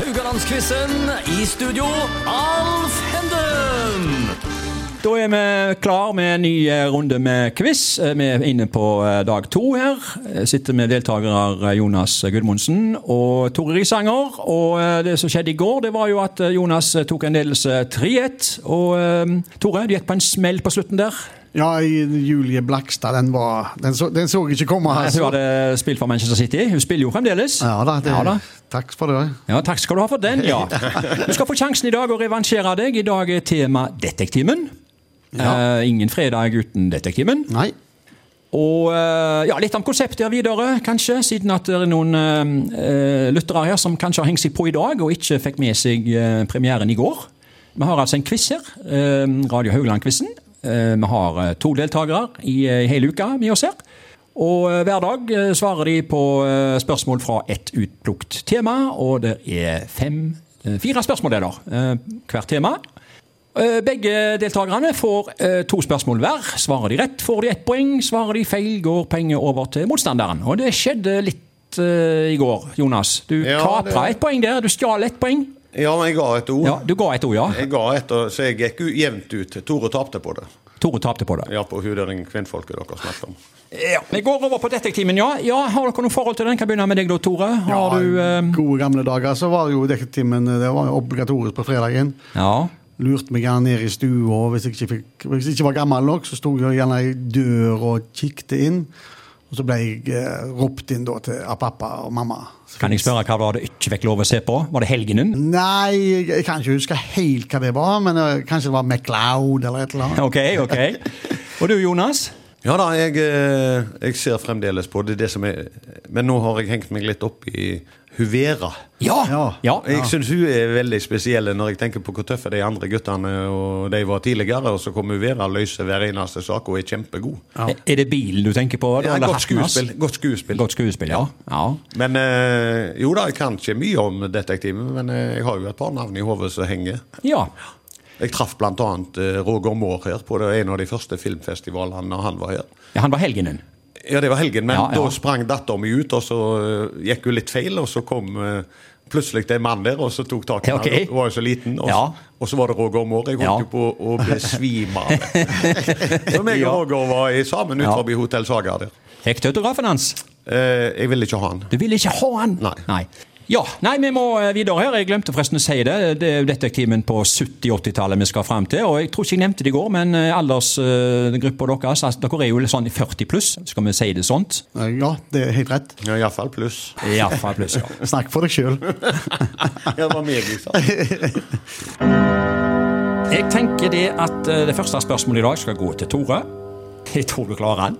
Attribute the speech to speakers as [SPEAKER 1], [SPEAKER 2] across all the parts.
[SPEAKER 1] Haalandsquizen. I studio, Alf Henden!
[SPEAKER 2] Da er vi klar med en ny eh, runde med quiz. Eh, Vi er inne på eh, dag to her. Eh, Sitter med deltakere eh, Jonas Gudmundsen og Tore Risanger. Og eh, det som skjedde i går, det var jo at eh, Jonas eh, tok en ledelse 3-1. Og eh, Tore, du gikk på en smell på slutten der.
[SPEAKER 3] Ja, i- Julie Blakstad, den var Den så, den så ikke komme.
[SPEAKER 2] Nei,
[SPEAKER 3] Altså.
[SPEAKER 2] Hun hadde spilt for Manchester City. Hun spiller jo fremdeles.
[SPEAKER 3] Ja da, det,
[SPEAKER 2] Ja da.
[SPEAKER 3] Takk for det.
[SPEAKER 2] Ja, Takk skal du ha for den, ja. Du skal få sjansen i dag å revansjere deg. I dag er tema Detektimen.
[SPEAKER 3] Ja.
[SPEAKER 2] Eh, ingen fredag uten Detektimen.
[SPEAKER 3] Nei.
[SPEAKER 2] Og eh, ja, litt om konseptet her videre, kanskje, siden at det er noen eh, eh, lyttere her som kanskje har hengt seg på i dag, og ikke fikk med seg eh, premieren i går. Vi har altså en quiz her, eh, Radio Haugland-quizen. Eh, vi har eh, to deltakere i eh, hele uka med oss her. Og eh, hver dag eh, svarer de på eh, spørsmål fra ett utplukt tema, og det er fem, eh, fire spørsmål der, da, eh, hvert tema. Eh, Begge deltakerne får eh, to spørsmål hver. Svarer de rett, får de ett poeng. Svarer de feil, går penger over til motstanderen. Og det skjedde litt eh, i går, Jonas. Du
[SPEAKER 4] Ja,
[SPEAKER 2] kapra
[SPEAKER 4] det-
[SPEAKER 2] ett poeng der. Du stjal ett poeng.
[SPEAKER 4] Ja, men jeg ga et ord.
[SPEAKER 2] Ja, du ga ett ord, ja.
[SPEAKER 4] Jeg ga et, og- så jeg gikk u- jevnt ut. Tore tapte på det.
[SPEAKER 2] Tore tapte på det.
[SPEAKER 4] Ja, på hun der den kvinnfolket dere snakket om.
[SPEAKER 2] Ja, Vi går over på detektimen, ja. ja. Har dere noe forhold til den? Kan begynne med deg, da, Tore. Har du eh,
[SPEAKER 3] Gode gamle dager så var jo dekketimen eh, det var jo obligatorisk på fredagen.
[SPEAKER 2] Ja.
[SPEAKER 3] Lurte meg gjerne ned i stua, og hvis jeg ikke, fikk, hvis jeg ikke var gammel nok, så sto jeg gjerne i døra og kikket inn. Og så ble jeg eh, ropt inn da til av pappa og mamma. Så
[SPEAKER 2] Kan jeg spørre hva var det ikke fikk lov å se på? Var det helgenen?
[SPEAKER 3] Nei, jeg kan ikke huske helt hva det var, men eh, kanskje det var MacLeod eller et eller annet.
[SPEAKER 2] Ok, ok. Og du, Jonas?
[SPEAKER 4] Ja da, jeg, eh, jeg ser fremdeles på det. det som er, men nå har jeg hengt meg litt opp i hun Vera.
[SPEAKER 2] Ja.
[SPEAKER 3] Ja.
[SPEAKER 2] ja.
[SPEAKER 4] Jeg syns hun er veldig spesiell når jeg tenker på hvor tøffe de andre guttene og de var tidligere. Og så kom hun Vera og løser hver eneste sak og er kjempegod.
[SPEAKER 2] Er det bilen du tenker på? da,
[SPEAKER 4] Ja,
[SPEAKER 2] eller
[SPEAKER 4] godt,
[SPEAKER 2] hatten hans?
[SPEAKER 4] skuespill, godt skuespill.
[SPEAKER 2] Godt skuespill, ja. ja.
[SPEAKER 4] Men eh, jo da, jeg kan ikke mye om detektiven, men eh, jeg har jo et par navn i hodet som henger.
[SPEAKER 2] Ja.
[SPEAKER 4] Jeg traff bl.a. Roger Moore her på det, en av de første filmfestivalene når han var her.
[SPEAKER 2] ja. Han var helgenen.
[SPEAKER 4] Ja, det var helgen, men
[SPEAKER 2] Ja, ja.
[SPEAKER 4] da sprang datteren min ut, og så eh, gikk hun litt feil, og så kom eh, plutselig det en mann der, og så tok tak i
[SPEAKER 2] Ja, ok.
[SPEAKER 4] henne. Hun var jo så liten, og,
[SPEAKER 2] Ja.
[SPEAKER 4] og så var det Roger Moore. Jeg
[SPEAKER 2] Ja.
[SPEAKER 4] holdt jo på å besvime av det. Så meg og Roger var i sammen ut
[SPEAKER 2] Ja.
[SPEAKER 4] forbi Hotell Saga der.
[SPEAKER 2] Fikk du autografen hans?
[SPEAKER 4] Eh, jeg ville ikke ha han.
[SPEAKER 2] Du ville ikke ha han!
[SPEAKER 4] Nei.
[SPEAKER 2] Ja, nei, vi må eh, videre her. Jeg glemte forresten å si det. Det er jo detektimen på 70-80-tallet vi skal fram til. Og jeg tror ikke jeg nevnte det i går, men eh, aldersgruppa deres altså, Dere er jo litt sånn i 40 pluss, skal vi si det sånt?
[SPEAKER 3] Ja, det er helt rett.
[SPEAKER 4] Ja, Iallfall pluss.
[SPEAKER 2] Iallfall pluss, ja.
[SPEAKER 3] Snakk for deg sjøl.
[SPEAKER 4] Ja, det var meg, liksom. jeg sa.
[SPEAKER 2] Jeg tenker det at eh, det første spørsmålet i dag skal gå til Tore. Jeg tror du klarer han.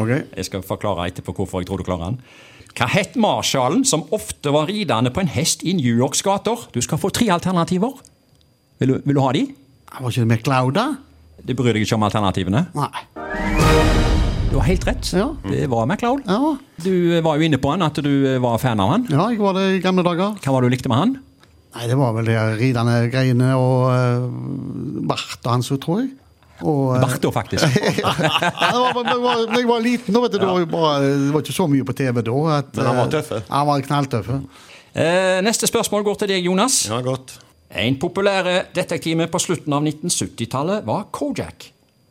[SPEAKER 3] Ok.
[SPEAKER 2] Jeg skal forklare etterpå hvorfor jeg tror du klarer den. Hva het marsjallen som ofte var ridende på en hest i New Yorks gater? Du skal få tre alternativer. Vil du, vil du ha de?
[SPEAKER 3] Var ikke det MacLeod, da?
[SPEAKER 2] Det bryr deg ikke om alternativene.
[SPEAKER 3] Nei.
[SPEAKER 2] Du har helt rett.
[SPEAKER 3] Ja.
[SPEAKER 2] Det var MacLeod.
[SPEAKER 3] Ja.
[SPEAKER 2] Du eh, var jo inne på han, at du eh, var fan av han.
[SPEAKER 3] ja, jeg var det i gamle dager.
[SPEAKER 2] Hva var det du likte med han?
[SPEAKER 3] Nei, det var vel de her ridende greiene og uh, barten hans, jo, tror jeg. Og, eh,
[SPEAKER 2] Barto, faktisk.
[SPEAKER 3] ja, det var, men jeg var, jeg var liten, da, vet du. Det, var jo bare, det var ikke så mye på TV da. At,
[SPEAKER 4] Men han var
[SPEAKER 3] eh,
[SPEAKER 4] tøffe.
[SPEAKER 3] Han var knalltøffe.
[SPEAKER 2] Eh, Neste spørsmål går til deg, Jonas.
[SPEAKER 4] Ja, godt.
[SPEAKER 2] En populær detektiv på slutten av 1970-tallet var Kojak.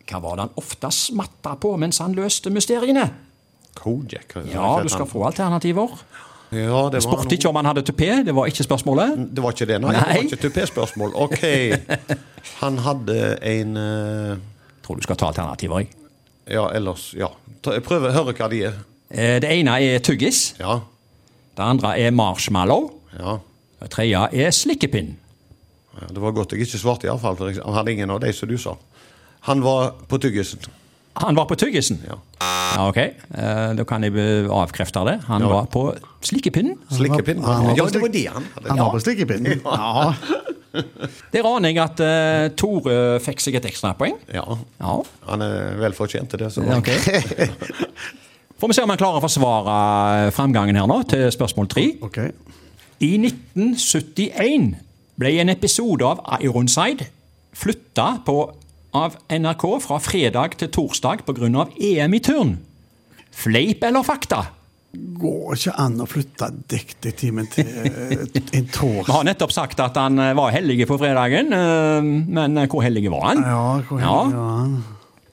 [SPEAKER 2] Hva var det han ofte smatta på mens han løste mysteriene?
[SPEAKER 4] Kojak. hva-
[SPEAKER 2] Ja,
[SPEAKER 4] hva
[SPEAKER 2] du
[SPEAKER 4] het han?
[SPEAKER 2] skal få alternativer.
[SPEAKER 4] Ja, det var
[SPEAKER 2] Spurte ikke om han hadde tupé, det var ikke spørsmålet.
[SPEAKER 4] Det var ikke det, nei. Det
[SPEAKER 2] Nei.
[SPEAKER 4] var ikke tupé-spørsmål. Ok. Han hadde en eh,
[SPEAKER 2] Tror du skal ta alternativer, jeg.
[SPEAKER 4] Ja, ellers Ja. Ta- Jeg prøver å høre hva de er.
[SPEAKER 2] Eh, Det ene er tyggis,
[SPEAKER 4] Ja.
[SPEAKER 2] det andre er marshmallow,
[SPEAKER 4] ja.
[SPEAKER 2] det tredje er slikkepinn.
[SPEAKER 4] Ja, Det var godt jeg ikke svarte, iallfall. For jeg hadde ingen av de som du sa. Han var på tyggisen.
[SPEAKER 2] Han var på tyggisen.
[SPEAKER 4] Ja.
[SPEAKER 2] Ja, ok. Eh, Da kan jeg be- avkrefte det. Han var på slikkepinnen.
[SPEAKER 4] Slikkepinnen.
[SPEAKER 3] Han var på
[SPEAKER 4] Ja, det var
[SPEAKER 3] slik-
[SPEAKER 4] det han
[SPEAKER 3] Han
[SPEAKER 4] hadde.
[SPEAKER 3] var på slikkepinnen. Ja.
[SPEAKER 2] Der aner jeg at eh, Tore fikk seg et ekstrapoeng.
[SPEAKER 4] Ja.
[SPEAKER 2] Ja,
[SPEAKER 4] Han er vel fortjent til det. Så.
[SPEAKER 2] ok. Får vi se om han klarer å forsvare eh, framgangen her nå, til spørsmål tre.
[SPEAKER 3] Ok.
[SPEAKER 2] I 1971 ble en episode av Ironside flytta på av NRK E fra fredag til torsdag pga. EM i turn. Fleip eller fakta?
[SPEAKER 3] går ikke an å flytte detektimen til eh, en
[SPEAKER 2] Vi har
[SPEAKER 3] torsdag.
[SPEAKER 2] nettopp sagt at han eh, var hellig på fredagen, eh, men eh, hvor hellig var han?
[SPEAKER 3] Ja, hvor heldig
[SPEAKER 2] Ja.
[SPEAKER 3] var han?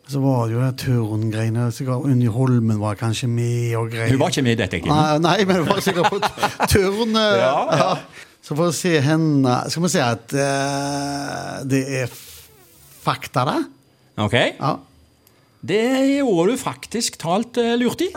[SPEAKER 3] Så var det jo det turngreiene. sikkert Unni Holmen var kanskje med og greier.
[SPEAKER 2] Hun var ikke med i Detektiven.
[SPEAKER 3] Nei, nei, men hun var sikkert på t- turn. eh,
[SPEAKER 2] Ja, ja.
[SPEAKER 3] Så for å se henne Skal vi si at eh, det er f- fakta, da?
[SPEAKER 2] Ok?
[SPEAKER 3] Ja.
[SPEAKER 2] Det gjorde du faktisk talt eh, lurt i.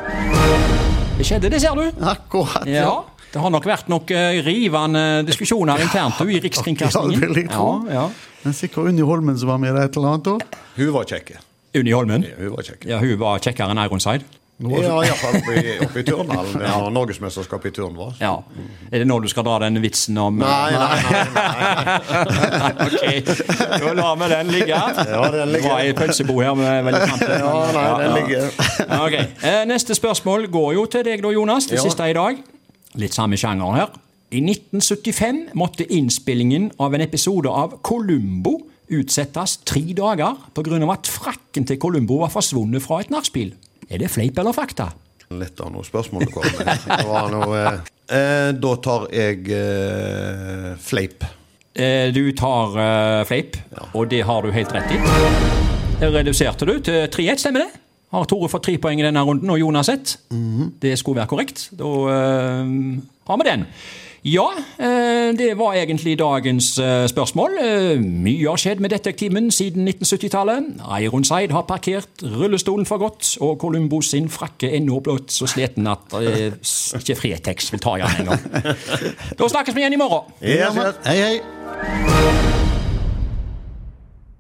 [SPEAKER 2] Det skjedde, det ser du.
[SPEAKER 3] Akkurat.
[SPEAKER 2] Ja, det har nok vært noen eh, rivende diskusjoner internt og i Rikskringkastingen.
[SPEAKER 3] Ja, det vil jeg tro.
[SPEAKER 2] Ja, ja.
[SPEAKER 3] Men sikkert Unni Holmen som var med i et eller annet òg.
[SPEAKER 4] Hun var kjekk.
[SPEAKER 2] Unni Holmen.
[SPEAKER 4] Ja, Hun var kjekk.
[SPEAKER 2] Ja, hun var kjekkere enn Ironside.
[SPEAKER 4] Ja, iallfall oppe i, oppe i turnhallen. Det var norgesmesterskapet i turn, var.
[SPEAKER 2] Ja. Mm. Er det nå du skal dra den vitsen om
[SPEAKER 4] Nei, nei, nei.
[SPEAKER 2] Ok, da lar vi den ligge.
[SPEAKER 4] Ja, den ligger.
[SPEAKER 2] Det var i pølsebo her. Med veldig fram til.
[SPEAKER 4] Ja, nei, den ligger.
[SPEAKER 2] Ja, ok. Eh, Neste spørsmål går jo til deg da, Jonas. Det
[SPEAKER 4] Ja.
[SPEAKER 2] siste i dag. Litt samme sjanger her. I 1975 måtte innspillingen av en episode av Columbo utsettes tre dager pga. at frakken til Columbo var forsvunnet fra et nachspiel. Er det fleip eller fakta?
[SPEAKER 4] Litt av noe spørsmål du kom med. Det var noe, eh, eh, da tar jeg eh, fleip.
[SPEAKER 2] Eh, Du tar eh, fleip, og det har du helt rett i. Det reduserte du til 3-1, stemmer det? Har Tore fått tre poeng i denne runden, og Jonas ett? Det skulle være korrekt. Da eh, har vi den. Ja, eh, det var egentlig dagens eh, spørsmål. Eh, mye har skjedd med detektimen siden 1970-tallet. Ironside har parkert rullestolen for godt, og Columbo sin frakke er nå blått så sliten at eh, s- ikke Fretex vil ta i den engang. Da snakkes vi igjen i morgen.
[SPEAKER 4] Yes, yes.
[SPEAKER 3] Hei, hei.